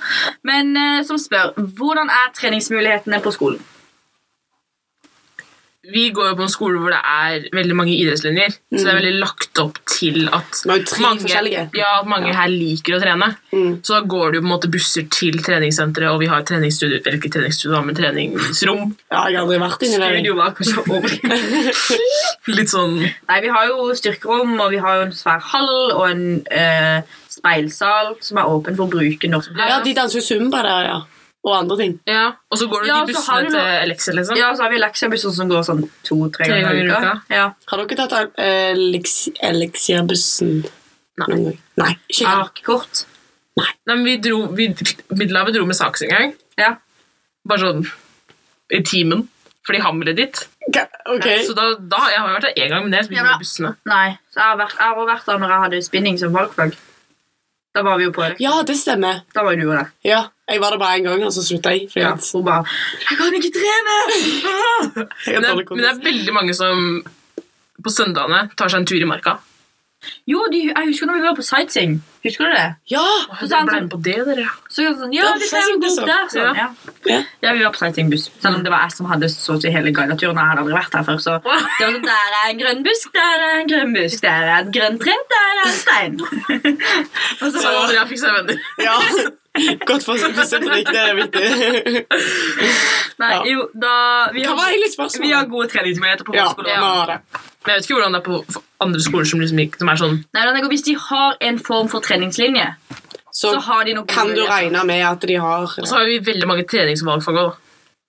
Speaker 5: Men eh, som spør, hvordan er treningsmulighetene på skolen?
Speaker 7: vi går jo på en skole hvor det er veldig mange idrettslinjer, så det er veldig lagt opp til at
Speaker 4: Vi har Mm. jo tre
Speaker 7: mange,
Speaker 4: forskjellige.
Speaker 7: ja, at mange her liker å trene.
Speaker 4: Mm.
Speaker 7: Så da går det jo på en måte busser til treningssenteret, og vi har treningsstudio, eller ikke treningsstudio, da, men treningsrom.
Speaker 4: Ja, jeg har aldri vært inni der.
Speaker 5: Studio var kanskje over.
Speaker 7: Litt sånn
Speaker 5: Nei, vi har jo styrkerom, og vi har jo en svær hall og en eh, speilsal som er åpen for å bruke når som helst.
Speaker 4: Ja, de danser jo zumba der, ja. Og andre ting.
Speaker 7: Ja, og så går du
Speaker 5: Ja,
Speaker 7: til
Speaker 5: så har
Speaker 7: bussene
Speaker 5: du
Speaker 7: til
Speaker 5: noe-
Speaker 7: Elixir, liksom.
Speaker 5: Ja, så har vi leksiebussen som går sånn to-tre
Speaker 7: Tre
Speaker 5: ganger i
Speaker 7: ganger i
Speaker 5: uka.
Speaker 7: uka.
Speaker 5: Ja.
Speaker 4: Har dere tatt Elixir-bussen
Speaker 7: Nei.
Speaker 4: noen gang? Nei. Ah, Ikke jeg.
Speaker 5: Arkekort.
Speaker 7: Nei, men vi dro, vi, Middelhavet dro med saks en gang.
Speaker 5: Ja.
Speaker 7: Bare sånn i timen. Fordi hamlet ditt.
Speaker 4: Ga- Ok.
Speaker 7: Så da, da, jeg har jo vært der én gang, men det er
Speaker 5: Ja,
Speaker 7: med
Speaker 5: men-
Speaker 7: bussene.
Speaker 5: Nei, så jeg har vært, jeg har vært der når jeg hadde spinning som valgfag. Da var vi jo på det.
Speaker 4: Ja, det stemmer.
Speaker 5: Da var jo du der.
Speaker 4: Ja. Jeg var det bare en gang, og så slutta jeg. Fordi
Speaker 7: Ja,
Speaker 4: at
Speaker 7: hun bare,
Speaker 5: Jeg kan ikke trene!
Speaker 4: jeg
Speaker 7: men,
Speaker 4: hadde
Speaker 7: det,
Speaker 4: dårlig
Speaker 7: men det er
Speaker 4: kondis.
Speaker 7: veldig mange som på søndagene tar seg en tur i marka.
Speaker 5: Jo, de, jeg husker når vi var på sightseeing. Husker du det?
Speaker 4: Ja!
Speaker 5: Så sa han
Speaker 7: Ble
Speaker 5: sånn,
Speaker 7: med på det, dere.
Speaker 5: så gjorde han sånn Ja,
Speaker 4: Det er
Speaker 5: vi ser
Speaker 4: sightseeing,
Speaker 5: bort
Speaker 4: liksom.
Speaker 5: der. Sånn, ja.
Speaker 4: Ja.
Speaker 5: ja, vi var på sightseeingbuss. Selv om det var jeg som hadde så til hele guideturen. og Jeg hadde aldri vært her før. Så det var sånn, Der er en grønn busk, der er en grønn busk, der er et grønt tre, der er en stein. og så
Speaker 7: Så
Speaker 5: var det
Speaker 7: Andrea fikk seg venner.
Speaker 4: ja. Godt forsøk på symbolikk, det er viktig.
Speaker 5: Nei,
Speaker 4: Ja.
Speaker 5: jo, da Vi
Speaker 4: Hva
Speaker 5: har,
Speaker 4: var egentlig
Speaker 5: vi har
Speaker 4: spørsmålet?
Speaker 5: gode treningsmuligheter på
Speaker 4: Ja,
Speaker 5: høyskolen.
Speaker 4: vi har det.
Speaker 7: Men jeg vet ikke hvordan det er på for andre skoler som, liksom, ikke- som er sånn
Speaker 5: Nei, men jeg går, Hvis de har en form for treningslinje,
Speaker 4: Så
Speaker 5: så har de noen
Speaker 4: kan du
Speaker 5: muligheter.
Speaker 4: regne med at de har
Speaker 7: Og så har vi veldig mange treningsvalgfag òg.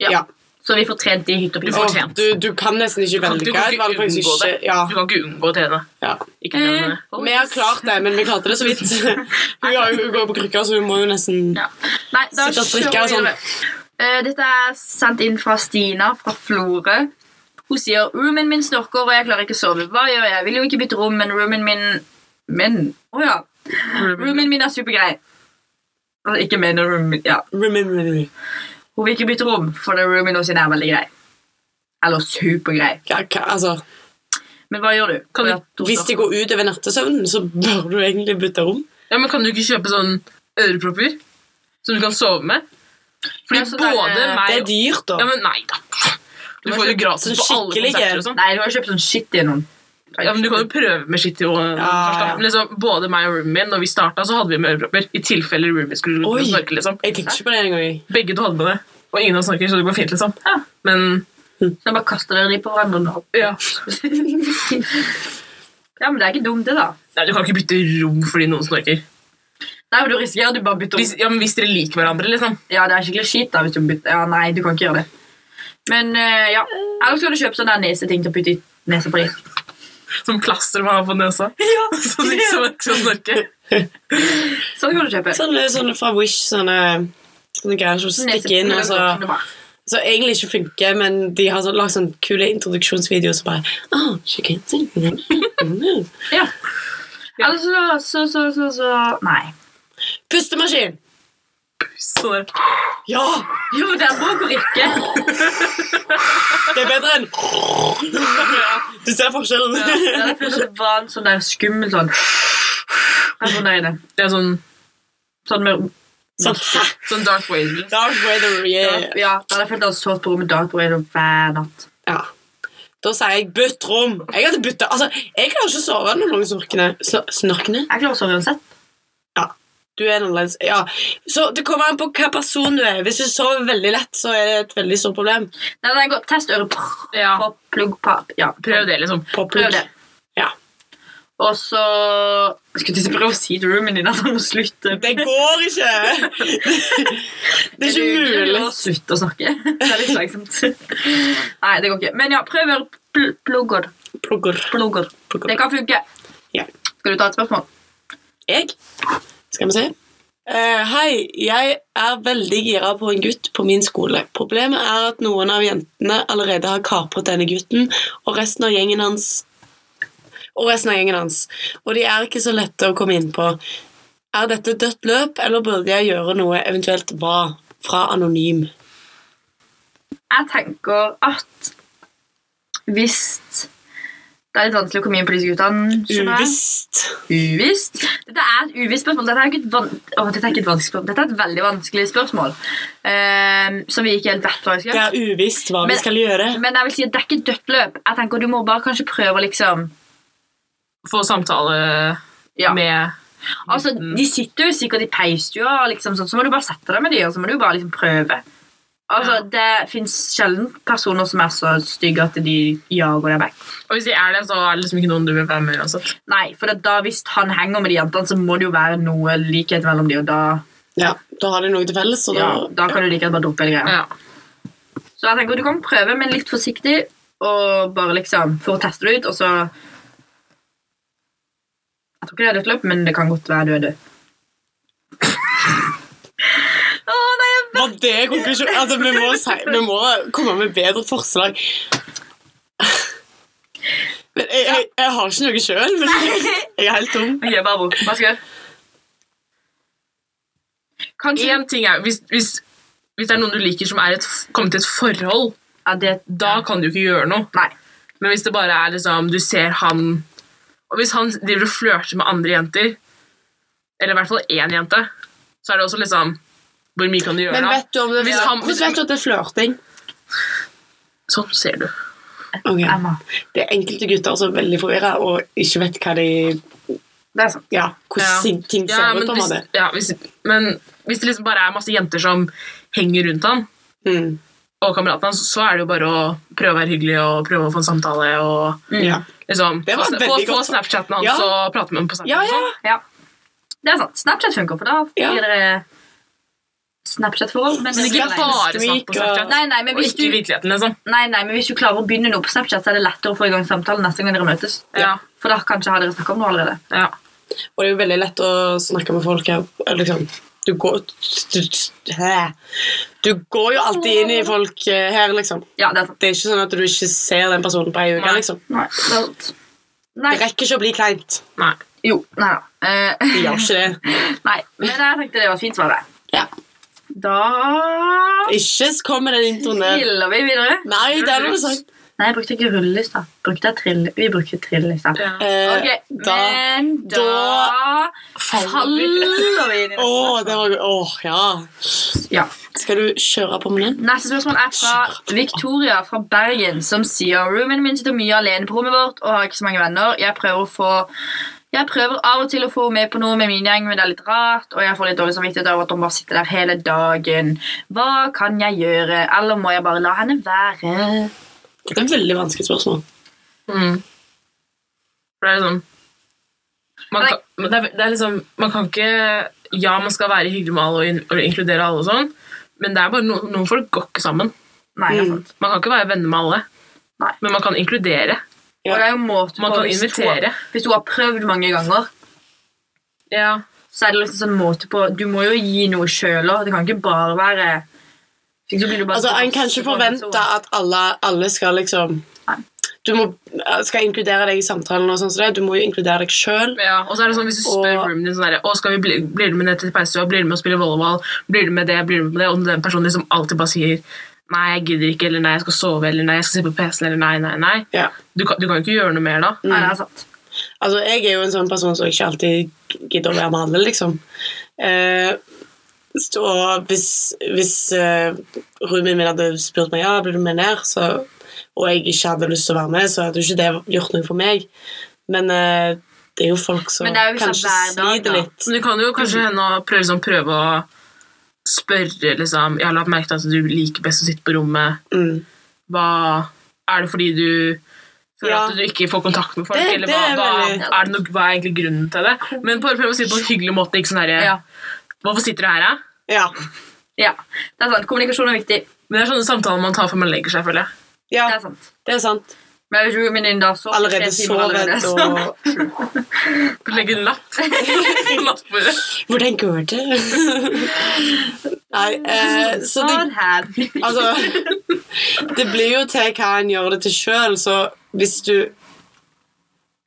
Speaker 4: Ja.
Speaker 5: Så vi får trent i hytt og
Speaker 7: Du
Speaker 5: pine.
Speaker 7: får
Speaker 4: Åh,
Speaker 7: fortjent.
Speaker 4: Du, du kan nesten ikke
Speaker 7: kan-
Speaker 4: velge
Speaker 7: du kan
Speaker 4: et
Speaker 7: ikke
Speaker 4: valg, for jeg
Speaker 7: unngå
Speaker 4: synes
Speaker 7: det.
Speaker 4: ikke ja,
Speaker 7: Du kan ikke unngå å trene.
Speaker 4: ja.
Speaker 7: Ikke trene.
Speaker 5: Eh,
Speaker 4: Vi har klart det, men vi klarte det så vidt. Hun, har, jo- hun går på krykker, så hun må jo nesten
Speaker 5: Ja. Nei, da
Speaker 4: Sitte og strikke
Speaker 5: kjører
Speaker 4: og
Speaker 5: vi
Speaker 4: sånn.
Speaker 5: videre. Eh, dette er sendt inn fra Stina fra Florø. Hun sier roomen min snorker, og jeg klarer ikke å sove. Hva gjør jeg? Jeg vil jo ikke bytte rom, men roomen min Men Å ja. Roomen min er supergrei. Altså, ikke men roomen min. Ja.
Speaker 4: Remember me.
Speaker 5: Hun vil ikke bytte rom, for det roomen hennes er veldig grei. Eller supergrei.
Speaker 4: Hva- hva- Altså,
Speaker 5: Men hva gjør du?
Speaker 7: Kan
Speaker 5: Fordi
Speaker 7: du-
Speaker 5: at hun
Speaker 4: hvis det
Speaker 5: snorker.
Speaker 4: går ut over nattesøvnen, så bør du egentlig bytte rom.
Speaker 7: Ja, men Kan du ikke kjøpe sånn ørepropper som du kan sove med? Fordi
Speaker 5: Ja, så det er-
Speaker 7: både meg
Speaker 4: Det er dyrt, da.
Speaker 7: Ja, men nei da. Du får jo gratis
Speaker 4: sånn
Speaker 7: på alle
Speaker 4: skikkelig
Speaker 7: konserter og sånn.
Speaker 5: Nei, du har jo kjøpt sånn shit i noen.
Speaker 7: Ja, men Du kan jo prøve med skitt i året.
Speaker 4: Ja,
Speaker 7: først, da.
Speaker 4: ja.
Speaker 7: Men liksom, både meg og roomien min, når vi starta, så hadde vi med ørepropper. I tilfelle roomien skulle
Speaker 4: Oi.
Speaker 7: ut og snorke. Liksom.
Speaker 4: Jeg tenkte ikke på det engang. jeg.
Speaker 7: Begge to hadde med det. Og ingen av oss snorker, så det går fint. liksom.
Speaker 5: Ja.
Speaker 7: Men
Speaker 5: Så bare kaster dere de på hverandre nå.
Speaker 7: ja.
Speaker 5: Ja, men det er ikke dumt, det, da.
Speaker 7: Nei, du kan ikke bytte rom fordi noen snorker.
Speaker 5: Nei, men du risikerer at du bare bytter rom.
Speaker 7: Hvis, ja, men hvis dere liker hverandre, liksom.
Speaker 5: Ja, det er skikkelig skit da hvis du bytter. Ja, nei, du kan ikke gjøre det. Men eh, ja, ellers kan du kjøpe sånne der neseting til å putte i nesepri.
Speaker 7: Som plaster man har på nesa. Ja. Så de ikke skal- skal snorke.
Speaker 5: Sånn kan du kjøpe.
Speaker 4: Sånne, sånne fra Wish, sånne, sånne greier som stikker inn. og så...
Speaker 7: sånn.
Speaker 4: Så egentlig ikke funker, men de har så, lagt sånn kule introduksjonsvideoer som bare oh, she can't sing. Mm.
Speaker 5: Ja. Eller så, så, så, så, så Nei.
Speaker 4: Pustemaskin!
Speaker 7: Sånn der.
Speaker 4: Ja!
Speaker 5: Jo, den bruker ikke.
Speaker 4: Det er bedre enn Du ser forskjellen.
Speaker 5: Den første var en sånn der skummel sånn Rett under øynene.
Speaker 7: Det er sånn,
Speaker 5: Sånn med
Speaker 4: Sånn, hæ?
Speaker 7: sånn dark wave.
Speaker 4: Dark weather, yeah.
Speaker 5: Ja, da hadde jeg følt at jeg hadde sovet på rommet dagbord hver natt.
Speaker 4: Ja. Da sier jeg 'bytt rom'. Jeg hadde byttet, altså, jeg klarer ikke å sove når noen snorkene. Sn- Snorkene?
Speaker 5: Jeg klarer å sove uansett.
Speaker 4: Du er annerledes. Ja. Så Det kommer an på hva person du er. Hvis du sover veldig lett, så er det et veldig stort problem.
Speaker 5: Nei, den går Test ørepropp,
Speaker 7: Ja.
Speaker 5: plugg, pap. Ja,
Speaker 7: Prøv det, liksom.
Speaker 5: Prøv det.
Speaker 4: Ja.
Speaker 5: Og så Jeg skulle til å prøve å si til roomien din at han må slutte.
Speaker 4: Det går ikke! Det er ikke mulig.
Speaker 5: Slutt å snakke. Det er litt slagsomt. Nei, det går ikke. Men ja, prøv å gjøre pl plugger.
Speaker 4: Plugger.
Speaker 5: plugger.
Speaker 4: plugger.
Speaker 5: Det kan funke.
Speaker 4: Ja.
Speaker 5: Skal du ta et spørsmål?
Speaker 4: Jeg? Skal vi se. Eh, hei, jeg er veldig gira på en gutt på min skole. Problemet er at noen av jentene allerede har kapret denne gutten, og resten av gjengen hans Og resten av gjengen hans. Og de er ikke så lette å komme inn på. Er dette dødt løp, eller burde jeg gjøre noe, eventuelt hva? Fra Anonym.
Speaker 5: Jeg tenker at hvis det er litt vanskelig å komme inn på disse guttene. skjønner jeg.
Speaker 4: Uvisst.
Speaker 5: Uvisst? Dette er et uvisst spørsmål. Dette er ikke et, van Åh, dette er ikke et vanskelig spørsmål. Dette er et veldig vanskelig spørsmål. eh, som vi ikke helt vet hva vi skal
Speaker 4: Det
Speaker 5: gjøre.
Speaker 4: er uvisst hva
Speaker 5: Men-
Speaker 4: vi skal gjøre.
Speaker 5: Men jeg vil si at det er ikke et dødt løp. Jeg tenker Du må bare kanskje prøve å liksom
Speaker 7: Få samtale
Speaker 5: Ja.
Speaker 7: med
Speaker 5: Altså, De sitter jo sikkert i peisstua, og liksom, sånn, så må du bare sette deg med dem og så må du bare liksom prøve. Altså, Det fins sjelden personer som er så stygge at de jager deg vekk.
Speaker 7: Og hvis de er det, så er det liksom ikke noen du vil være med uansett.
Speaker 5: Nei, for det, da Hvis han henger med de jentene, så må det jo være noe likhet mellom de, og da,
Speaker 4: Ja, Da har de noe til felles, og da
Speaker 5: ja, da kan du like gjerne bare droppe hele greia.
Speaker 7: Ja.
Speaker 5: Så jeg tenker du kan prøve, men litt forsiktig, og bare liksom for å teste det ut, og så Jeg tror ikke det er dødt løp, men det kan godt være du er død. Å nei, jeg
Speaker 4: Var det konklusjonen? Altså, vi må, si, vi må komme med bedre forslag. Men jeg, jeg, jeg har ikke noe sjøl. Jeg er helt tom.
Speaker 5: Ok, Barbro, hva skal jeg gjøre? Kanskje
Speaker 7: En ting er, hvis, hvis, hvis det er noen du liker som er et, f- kommet til et forhold,
Speaker 5: ja, det,
Speaker 7: da kan du ikke gjøre noe.
Speaker 5: Nei.
Speaker 7: Men hvis det bare er liksom, du ser han Og hvis han driver og flørter med andre jenter, eller i hvert fall én jente, så er det også liksom Hvor mye kan du gjøre
Speaker 4: Men
Speaker 7: da?
Speaker 4: vet du om det,
Speaker 7: Hvis han-
Speaker 4: hvordan vet du at det er flørting?
Speaker 7: Sånn ser du.
Speaker 4: Ok.
Speaker 5: Emma.
Speaker 4: Det er enkelte gutter som er veldig forvirra og ikke vet hva de
Speaker 5: Det er sant.
Speaker 4: Ja, hvordan ting ser
Speaker 7: Ja,
Speaker 4: ut.
Speaker 7: men,
Speaker 4: på en
Speaker 7: hvis,
Speaker 4: måte.
Speaker 7: ja, hvis, men hvis det liksom bare er masse jenter som henger rundt han,
Speaker 4: Mm.
Speaker 7: og kameratene hans, så er det jo bare å prøve å være hyggelig og prøve å få en samtale. og
Speaker 4: Ja.
Speaker 7: liksom,
Speaker 4: Det var
Speaker 7: Få, få,
Speaker 4: veldig
Speaker 7: få
Speaker 4: godt.
Speaker 7: Snapchaten hans
Speaker 4: Ja.
Speaker 7: og prate med ham på Snap.
Speaker 4: Ja,
Speaker 7: og
Speaker 4: ja.
Speaker 7: sånn.
Speaker 5: Det er sant. Snapchat funker, for da
Speaker 4: Ja.
Speaker 5: blir dere Snapchat-forhold. Men,
Speaker 7: Men ikke
Speaker 4: Snap,
Speaker 7: bare
Speaker 4: Snap
Speaker 7: Snap
Speaker 4: og-
Speaker 7: på Snapchat.
Speaker 5: Nei, nei, men
Speaker 7: og
Speaker 5: hvis
Speaker 7: ikke i
Speaker 5: du,
Speaker 7: virkeligheten, liksom.
Speaker 5: nei, nei, men hvis du klarer å begynne noe på Snapchat, så er det lettere å få i gang samtalen neste gang dere møtes.
Speaker 7: Ja.
Speaker 5: For da kanskje har dere snakket om noe allerede.
Speaker 7: Ja.
Speaker 4: Og det er jo veldig lett å snakke med folk her. eller Liksom. Du, går, du, du, hæ. du går jo alltid inn i folk eh, her, liksom.
Speaker 5: Ja, det er sant.
Speaker 4: Det er ikke sånn at du ikke ser den personen på ei uke.
Speaker 7: Nei.
Speaker 4: Liksom.
Speaker 5: Nei, det er sant. Nei,
Speaker 4: Det rekker ikke å bli kleint.
Speaker 7: Nei.
Speaker 5: jo, nei da. Eh,
Speaker 4: Det gjør ikke det.
Speaker 5: nei, men jeg tenkte det var et fint svar, det.
Speaker 4: Ja.
Speaker 5: Da
Speaker 4: Ikke kom med den introen der.
Speaker 5: triller vi videre.
Speaker 4: Nei, det har du sagt.
Speaker 5: Nei, jeg brukte ikke rullelista. Brukte jeg trill... Vi brukte trillelista.
Speaker 7: Ja.
Speaker 4: Eh,
Speaker 5: Ok,
Speaker 4: da
Speaker 5: men da,
Speaker 4: da
Speaker 5: faller vi inn
Speaker 4: Å,
Speaker 5: i neste
Speaker 4: det var gøy. Åh, ja.
Speaker 5: Ja.
Speaker 4: Skal du kjøre på med den?
Speaker 5: Neste spørsmål er fra Victoria fra Bergen, som sier Roomien min sitter mye alene på rommet vårt og har ikke så mange venner. Jeg prøver å få jeg prøver av og til å få henne med på noe med min gjeng, men det er litt rart, og jeg får litt dårlig samvittighet over at hun bare sitter der hele dagen. Hva kan jeg gjøre, eller må jeg bare la henne være?
Speaker 4: Det er et veldig vanskelig spørsmål.
Speaker 7: Mm. For det er liksom man
Speaker 5: Nei.
Speaker 7: kan, men det er, det er liksom Man kan ikke Ja, man skal være hyggelig med alle og, in, og inkludere alle og sånn, men det er bare noen, noen folk går ikke sammen.
Speaker 5: Nei, det er
Speaker 4: Mm.
Speaker 5: sant.
Speaker 7: Man kan ikke være venner med alle,
Speaker 5: Nei.
Speaker 7: men man kan inkludere.
Speaker 4: Ja.
Speaker 5: Og det er jo en måte
Speaker 7: Man
Speaker 5: på
Speaker 7: kan
Speaker 5: hvis
Speaker 7: invitere.
Speaker 5: Hun, hvis hun har prøvd mange ganger,
Speaker 7: Ja.
Speaker 5: så er det liksom sånn måte på Du må jo gi noe sjøl òg. Det kan ikke bare være Hvis ikke så blir du bare-
Speaker 4: Altså, En kan ikke forvente at alle, alle skal liksom
Speaker 5: Nei.
Speaker 4: Du må, skal inkludere deg i samtalen, og sånn som det. du må jo inkludere deg sjøl.
Speaker 7: Ja, og så er det sånn Hvis du spør
Speaker 4: Og-
Speaker 7: roomien din sånn der, «Å, skal vi bli, Blir du med ned til pause, og blir du med å spille volleyball, blir du med det, blir du med det, og den personen liksom alltid bare sier Nei, jeg gidder ikke, eller nei, jeg skal sove, eller nei, jeg skal se på PC-en, eller nei, nei, nei.
Speaker 4: Ja.
Speaker 7: Du kan, du kan jo ikke gjøre noe mer da.
Speaker 5: Nei, det er sant.
Speaker 4: Altså, jeg er jo en sånn person som ikke alltid gidder å være med alle, liksom. Eh, så hvis, hvis eh, roomien min hadde spurt meg ja, blir du med ned, så, og jeg ikke hadde lyst til å være med, så hadde jo ikke det gjort noe for meg. Men eh, det er jo folk som
Speaker 5: Men det er jo hvis det er
Speaker 4: kanskje
Speaker 5: hver dag,
Speaker 4: sliter
Speaker 5: da.
Speaker 4: litt.
Speaker 7: Så det kan jo kanskje
Speaker 4: Mm.
Speaker 7: hende å prøve, liksom, prøve å spørre liksom, Jeg har lagt merke til at du liker best å sitte på rommet.
Speaker 4: Mm.
Speaker 7: Hva Er det fordi du føler
Speaker 4: Ja.
Speaker 7: at du ikke får kontakt med folk?
Speaker 4: Det-
Speaker 7: eller
Speaker 4: det
Speaker 7: hva,
Speaker 4: er
Speaker 7: hva,
Speaker 4: veldig-
Speaker 7: er det noe, hva er egentlig grunnen til det? Men bare prøv å si det på en hyggelig måte. Ikke sånn herre
Speaker 5: Ja.
Speaker 7: Hvorfor sitter du her, da?
Speaker 4: Ja.
Speaker 5: Ja, det er sant. Kommunikasjon er viktig.
Speaker 7: Men det er sånne samtaler man tar før man legger seg, føler jeg.
Speaker 4: ja,
Speaker 5: Det er sant.
Speaker 4: det er sant.
Speaker 5: Men jeg er jo min da så
Speaker 4: Allerede sovet og
Speaker 7: Legge en lapp på nattbordet.
Speaker 4: Hvordan går det? Nei, eh, så det,
Speaker 5: Sånn her.
Speaker 4: altså, det blir jo til hva en gjør det til sjøl, så hvis du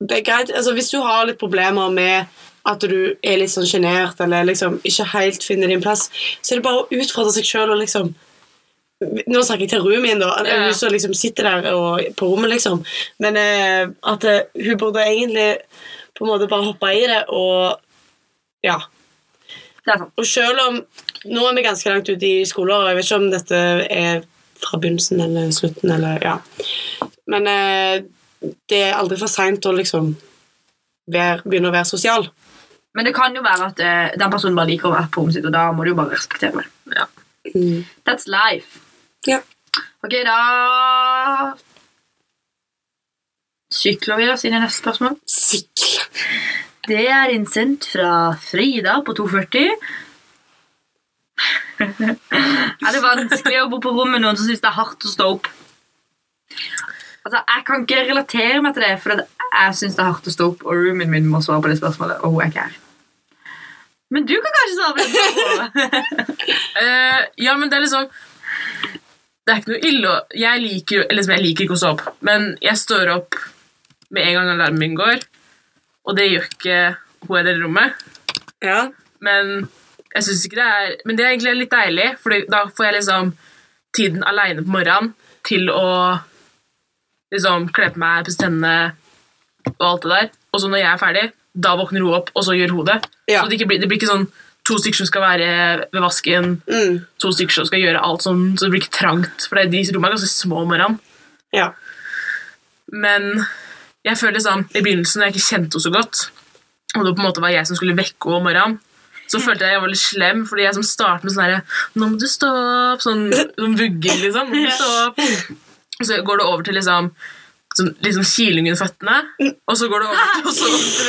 Speaker 4: Det er greit altså, Hvis du har litt problemer med at du er litt sånn sjenert eller liksom ikke helt finner din plass, så er det bare å utfordre seg sjøl og liksom Nå snakker jeg til roomien, da.
Speaker 7: Ja.
Speaker 4: Hun som liksom sitter der og, på rommet, liksom. Men eh, at eh, hun burde egentlig på en måte bare hoppe i det og Ja.
Speaker 5: Det er sant.
Speaker 4: Og selv om Nå er vi ganske langt ute i skoleåret, og jeg vet ikke om dette er fra begynnelsen eller slutten, eller ja. Men eh, det er aldri for seint å liksom være, begynne å være sosial.
Speaker 5: Men det kan jo være at eh, den personen bare liker å være på rommet sitt, og da må du jo bare respektere det. That's life.
Speaker 4: Ja.
Speaker 5: Ok, da Sykler vi oss inn i neste spørsmål?
Speaker 4: Sikle.
Speaker 5: Det er innsendt fra Frida på 240. er det vanskelig å bo på rom med noen som syns det er hardt å stå opp? Altså, Jeg kan ikke relatere meg til det, for at jeg syns det er hardt å stå opp, og roomien min må svare på det spørsmålet, og hun er ikke her. Men du kan kanskje svare på det spørsmålet?
Speaker 7: Eh, ja, men det er liksom Det er ikke noe ille å Jeg liker jo liksom, Jeg liker ikke å stå opp, men jeg står opp med en gang alarmen min går, og det gjør ikke hun i det rommet.
Speaker 4: Ja.
Speaker 7: Men Jeg synes ikke det er, Men det er egentlig litt deilig, for da får jeg liksom tiden aleine på morgenen til å liksom kle på meg, pusse tennene og alt det der. Og så når jeg er ferdig, da våkner hun opp, og så gjør hun det.
Speaker 4: Ja.
Speaker 7: Så det, ikke blir, det blir ikke sånn to stykker som skal være ved vasken,
Speaker 4: Mm,
Speaker 7: to stykker som skal gjøre alt sånn, så det blir ikke trangt. For det- de rommene er ganske små om morgenen.
Speaker 4: ja.
Speaker 7: Men jeg føler liksom, i begynnelsen, da jeg ikke kjente henne så godt, og det på en måte var jeg som skulle vekke henne om morgenen, så følte jeg jeg var litt slem, fordi jeg som startet med sånn her, nå må du stå opp, sånn, sånn vugger, liksom, nå må du stå opp. Og så går det over til liksom, sånn, litt sånn kiling under føttene, og så går det over til, og så,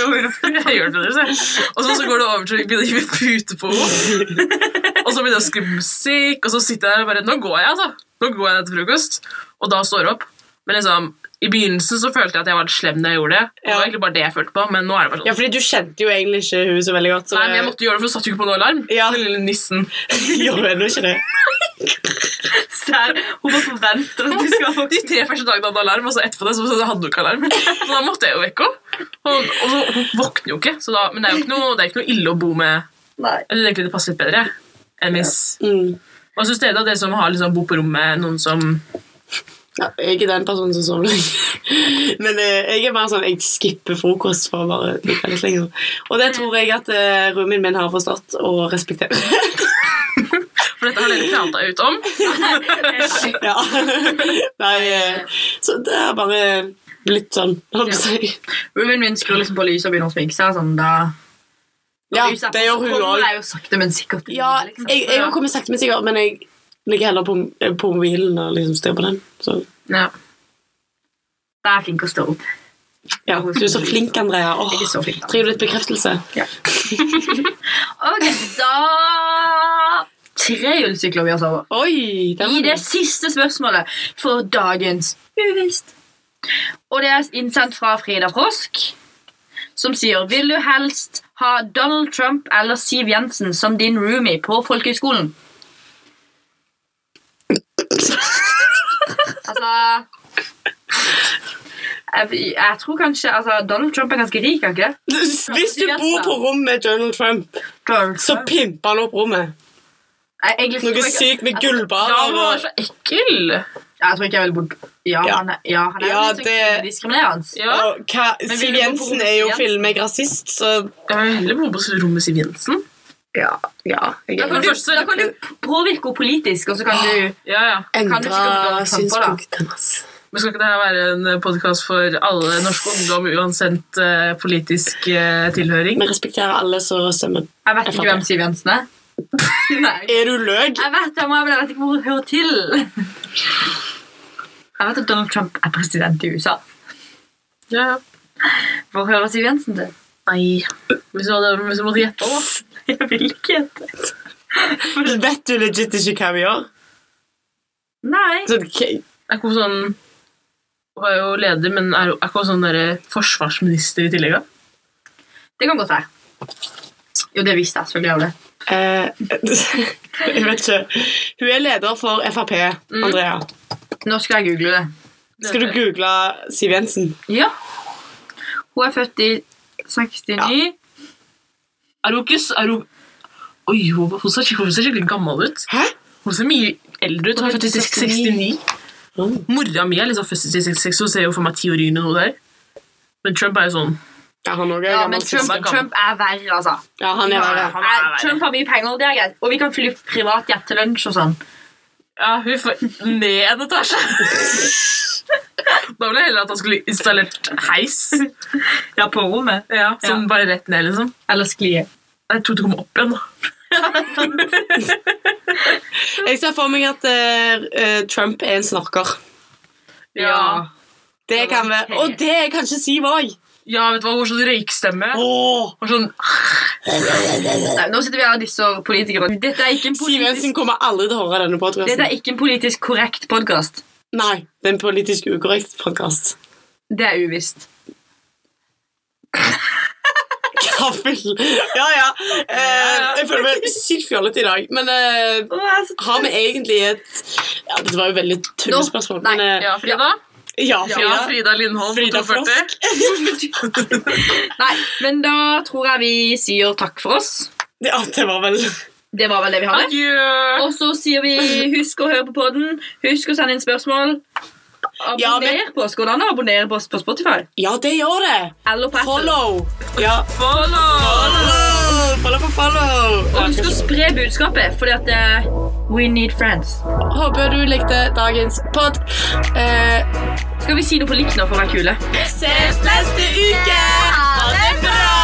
Speaker 7: jeg gjør det, dere ser. og så, så går det over til å begynne å hive pute på henne, og så begynner jeg å skrive musikk, og så sitter jeg der og bare, nå går jeg, altså, nå går jeg etter frokost, og da står jeg opp. Men liksom, i begynnelsen så følte jeg at jeg var litt slem da jeg gjorde det. Det
Speaker 4: Ja.
Speaker 7: var egentlig bare det jeg følte på, men nå er det bare sånn.
Speaker 4: ja, fordi du kjente jo egentlig ikke hun så veldig godt. Så
Speaker 7: Nei, men jeg måtte gjøre det, for du satt jo ikke på noe alarm.
Speaker 4: Ja.
Speaker 7: Den lille nissen.
Speaker 4: Gjør du ennå ikke det?
Speaker 5: Serr, hun bare forventer at du skal
Speaker 7: De tre første dagene hadde alarm, og så etterpå det så, så hadde hun ikke alarm. Så da måtte jeg jo vekke henne. Og, og så, hun våkner jo ikke, så da, men det er jo ikke noe, det er ikke noe ille å bo med.
Speaker 5: Nei.
Speaker 7: Jeg synes egentlig det passer litt bedre enn hvis...
Speaker 4: Mm.
Speaker 7: Hva synes dere da, dere som har liksom bo på rommet, noen som...
Speaker 4: Ja, jeg er ikke den personen som sover lenge. Men eh, jeg er bare sånn, jeg skipper frokost for å bare ligge litt lenger. Og det tror jeg at eh, roomien min har forstått å respektere.
Speaker 7: For dette har dere pratet ut om.
Speaker 4: ja. Nei, eh, så det er bare litt sånn, holdt på å si.
Speaker 5: Roomien min skrur liksom på lyset og begynner å sminke seg. Sånn, da,
Speaker 4: Ja,
Speaker 5: lyset er på,
Speaker 4: det gjør
Speaker 5: så
Speaker 4: hun
Speaker 5: kommer
Speaker 4: også.
Speaker 5: jeg jo sakte, men sikkert. inn,
Speaker 4: Ja,
Speaker 5: liksom.
Speaker 4: jeg, jeg har kommet sakte, men sikkert, men jeg ligger heller på, eh, på mobilen og liksom styrer på den. Så,
Speaker 7: Ja.
Speaker 5: Da er jeg flink å stå opp.
Speaker 4: ja, du er så flink, Andrea. Åh,
Speaker 5: Ikke så flink, da.
Speaker 4: trenger du litt bekreftelse?
Speaker 5: Ok, da Tre ullsykler vi har sovet.
Speaker 4: Oi, den
Speaker 5: I
Speaker 4: var
Speaker 5: det
Speaker 4: god.
Speaker 5: siste spørsmålet for dagens uvisst. Og det er innsendt fra Frida Frosk, som sier Vil du helst ha Donald Trump eller Siv Jensen som din roomie på folkehøyskolen? altså jeg, jeg tror kanskje altså, Donald Trump er ganske rik, er han ikke det?
Speaker 4: Hvis du bor på rom med Donald Trump,
Speaker 5: Donald
Speaker 4: så
Speaker 5: Trump.
Speaker 4: pimper han opp rommet.
Speaker 5: Jeg- egentlig tror
Speaker 4: Noe
Speaker 5: jeg-
Speaker 4: sykt med
Speaker 7: Ja,
Speaker 4: gullbarer
Speaker 7: men han er
Speaker 4: og
Speaker 7: så ekkel.
Speaker 5: Jeg tror ikke jeg ville bodd Ja,
Speaker 4: Ja.
Speaker 5: han er, ja, han er
Speaker 4: Ja,
Speaker 5: litt sånn
Speaker 4: det-
Speaker 5: diskriminerende.
Speaker 7: Ja.
Speaker 4: og hva,
Speaker 7: vil
Speaker 4: Siv
Speaker 7: du gå på rom
Speaker 4: Jensen
Speaker 7: med
Speaker 4: er jo
Speaker 7: Siv Jensen?
Speaker 4: filmet rasist, så
Speaker 7: Jeg vil heller bo på rommet med Siv Jensen.
Speaker 4: Ja. ja jeg
Speaker 5: Da
Speaker 4: er
Speaker 5: kan,
Speaker 7: Men
Speaker 5: du,
Speaker 7: først så-
Speaker 5: da kan du påvirke henne politisk, og så kan du
Speaker 7: Ja, ja.
Speaker 5: Kan du ikke gå
Speaker 4: Endra
Speaker 5: på Donald Trump også, da?
Speaker 4: synspunkt hennes.
Speaker 7: Men skal ikke dette være en podkast for alle norsk ungdom uansett eh, politisk eh, tilhøring?
Speaker 4: Vi respekterer alle som stemmer.
Speaker 5: Jeg vet ikke
Speaker 4: Jeg
Speaker 5: hvem Siv Jensen er. Nei.
Speaker 4: Er du løk?
Speaker 5: Jeg vet hvem hun er, men jeg vet ikke hvor hun hører til. Jeg vet at Donald Trump er president i USA.
Speaker 7: Ja.
Speaker 5: Hvor hører Siv Jensen til?
Speaker 7: Nei Hvis du, hadde, hvis du måtte gjette òg.
Speaker 5: Jeg vil ikke gjette.
Speaker 4: Vet du legit ikke hva vi gjør?
Speaker 5: Nei.
Speaker 4: Sånn, k-
Speaker 7: Er ikke hun sånn Hun er jo leder, men er, hun- er ikke hun sånn derre forsvarsminister i tillegg? da?
Speaker 5: Det kan godt være. Jo, det visste jeg selvfølgelig. av det.
Speaker 4: eh, jeg vet ikke. Hun er leder for Frp, Andrea.
Speaker 5: Nå skal jeg google det.
Speaker 4: Skal du google Siv Jensen?
Speaker 5: Ja. Hun er født i 69.
Speaker 7: Er hun ikke s- er hun, Oi, hun, hun, ser skikkelig, hun ser skikkelig gammel ut.
Speaker 4: Hæ?
Speaker 7: Hun ser mye eldre ut. Hun er født i 69.
Speaker 4: Mm.
Speaker 7: Mora mi er liksom født i 66, så hun ser jo for meg ti år yngre enn hun der. Men Trump er jo sånn
Speaker 4: Ja, han også er
Speaker 5: Ja,
Speaker 4: gammel.
Speaker 5: men Trump,
Speaker 7: gammel.
Speaker 5: Trump er verre, altså.
Speaker 4: Ja, han er verre.
Speaker 7: han
Speaker 5: Nei,
Speaker 7: er verre.
Speaker 5: Trump har mye penger, det er greit. Og vi kan fly privat jet til lunsj og sånn.
Speaker 7: Ja, hun får ned en etasje. da ville jeg heller at han skulle installert heis.
Speaker 5: Ja, på rommet.
Speaker 7: Ja, sånn bare rett ned, liksom.
Speaker 5: Eller sklie.
Speaker 7: Jeg trodde du kom opp igjen. da.
Speaker 4: Jeg ser for meg at eh, eh, Trump er en snorker.
Speaker 5: Ja.
Speaker 4: Det kan vi. Og det er kanskje Siv òg.
Speaker 7: Ja, vet du hva, hun har sånn røykstemme.
Speaker 4: Åh,
Speaker 7: Og sånn,
Speaker 5: Nei, nå sitter vi her og disser politikere. Dette er ikke en
Speaker 4: Siv Jensen
Speaker 5: politisk,
Speaker 4: kommer aldri til å høre denne
Speaker 5: dette
Speaker 4: podkasten.
Speaker 5: er ikke en politisk korrekt podkast.
Speaker 4: Nei, det er en politisk ukorrekt podkast.
Speaker 5: Det er uvisst.
Speaker 4: Kaffel. Ja, ja. Eh, jeg føler meg sykt fjollete i dag, men eh, har vi egentlig et ja, Dette var jo veldig tullespørsmål, men eh,
Speaker 7: ja, Frida.
Speaker 4: ja,
Speaker 7: Ja,
Speaker 4: Frida.
Speaker 7: Frida Lindholm på
Speaker 4: Frida
Speaker 7: 42.
Speaker 5: Nei, men da tror jeg vi sier takk for oss.
Speaker 4: Ja, det var vel
Speaker 5: Det var vel det vi hadde.
Speaker 7: Adjø!
Speaker 5: Og så sier vi husk å høre på podden, husk å sende inn spørsmål. Abonner
Speaker 4: Ja, men-
Speaker 5: på oss. Går det an å abonnere på oss på Spotify?
Speaker 4: Ja, det gjør det!
Speaker 5: Eller på Apple?
Speaker 4: Follow! Ja.
Speaker 7: Follow!
Speaker 4: Follow! Follow for follow!
Speaker 5: Og husk å spre budskapet, fordi at eh, We need friends.
Speaker 4: Håper du likte dagens pod. Eh,
Speaker 5: Skal vi si noe på likt nå for å være kule?
Speaker 4: ses neste uke! Ha det bra!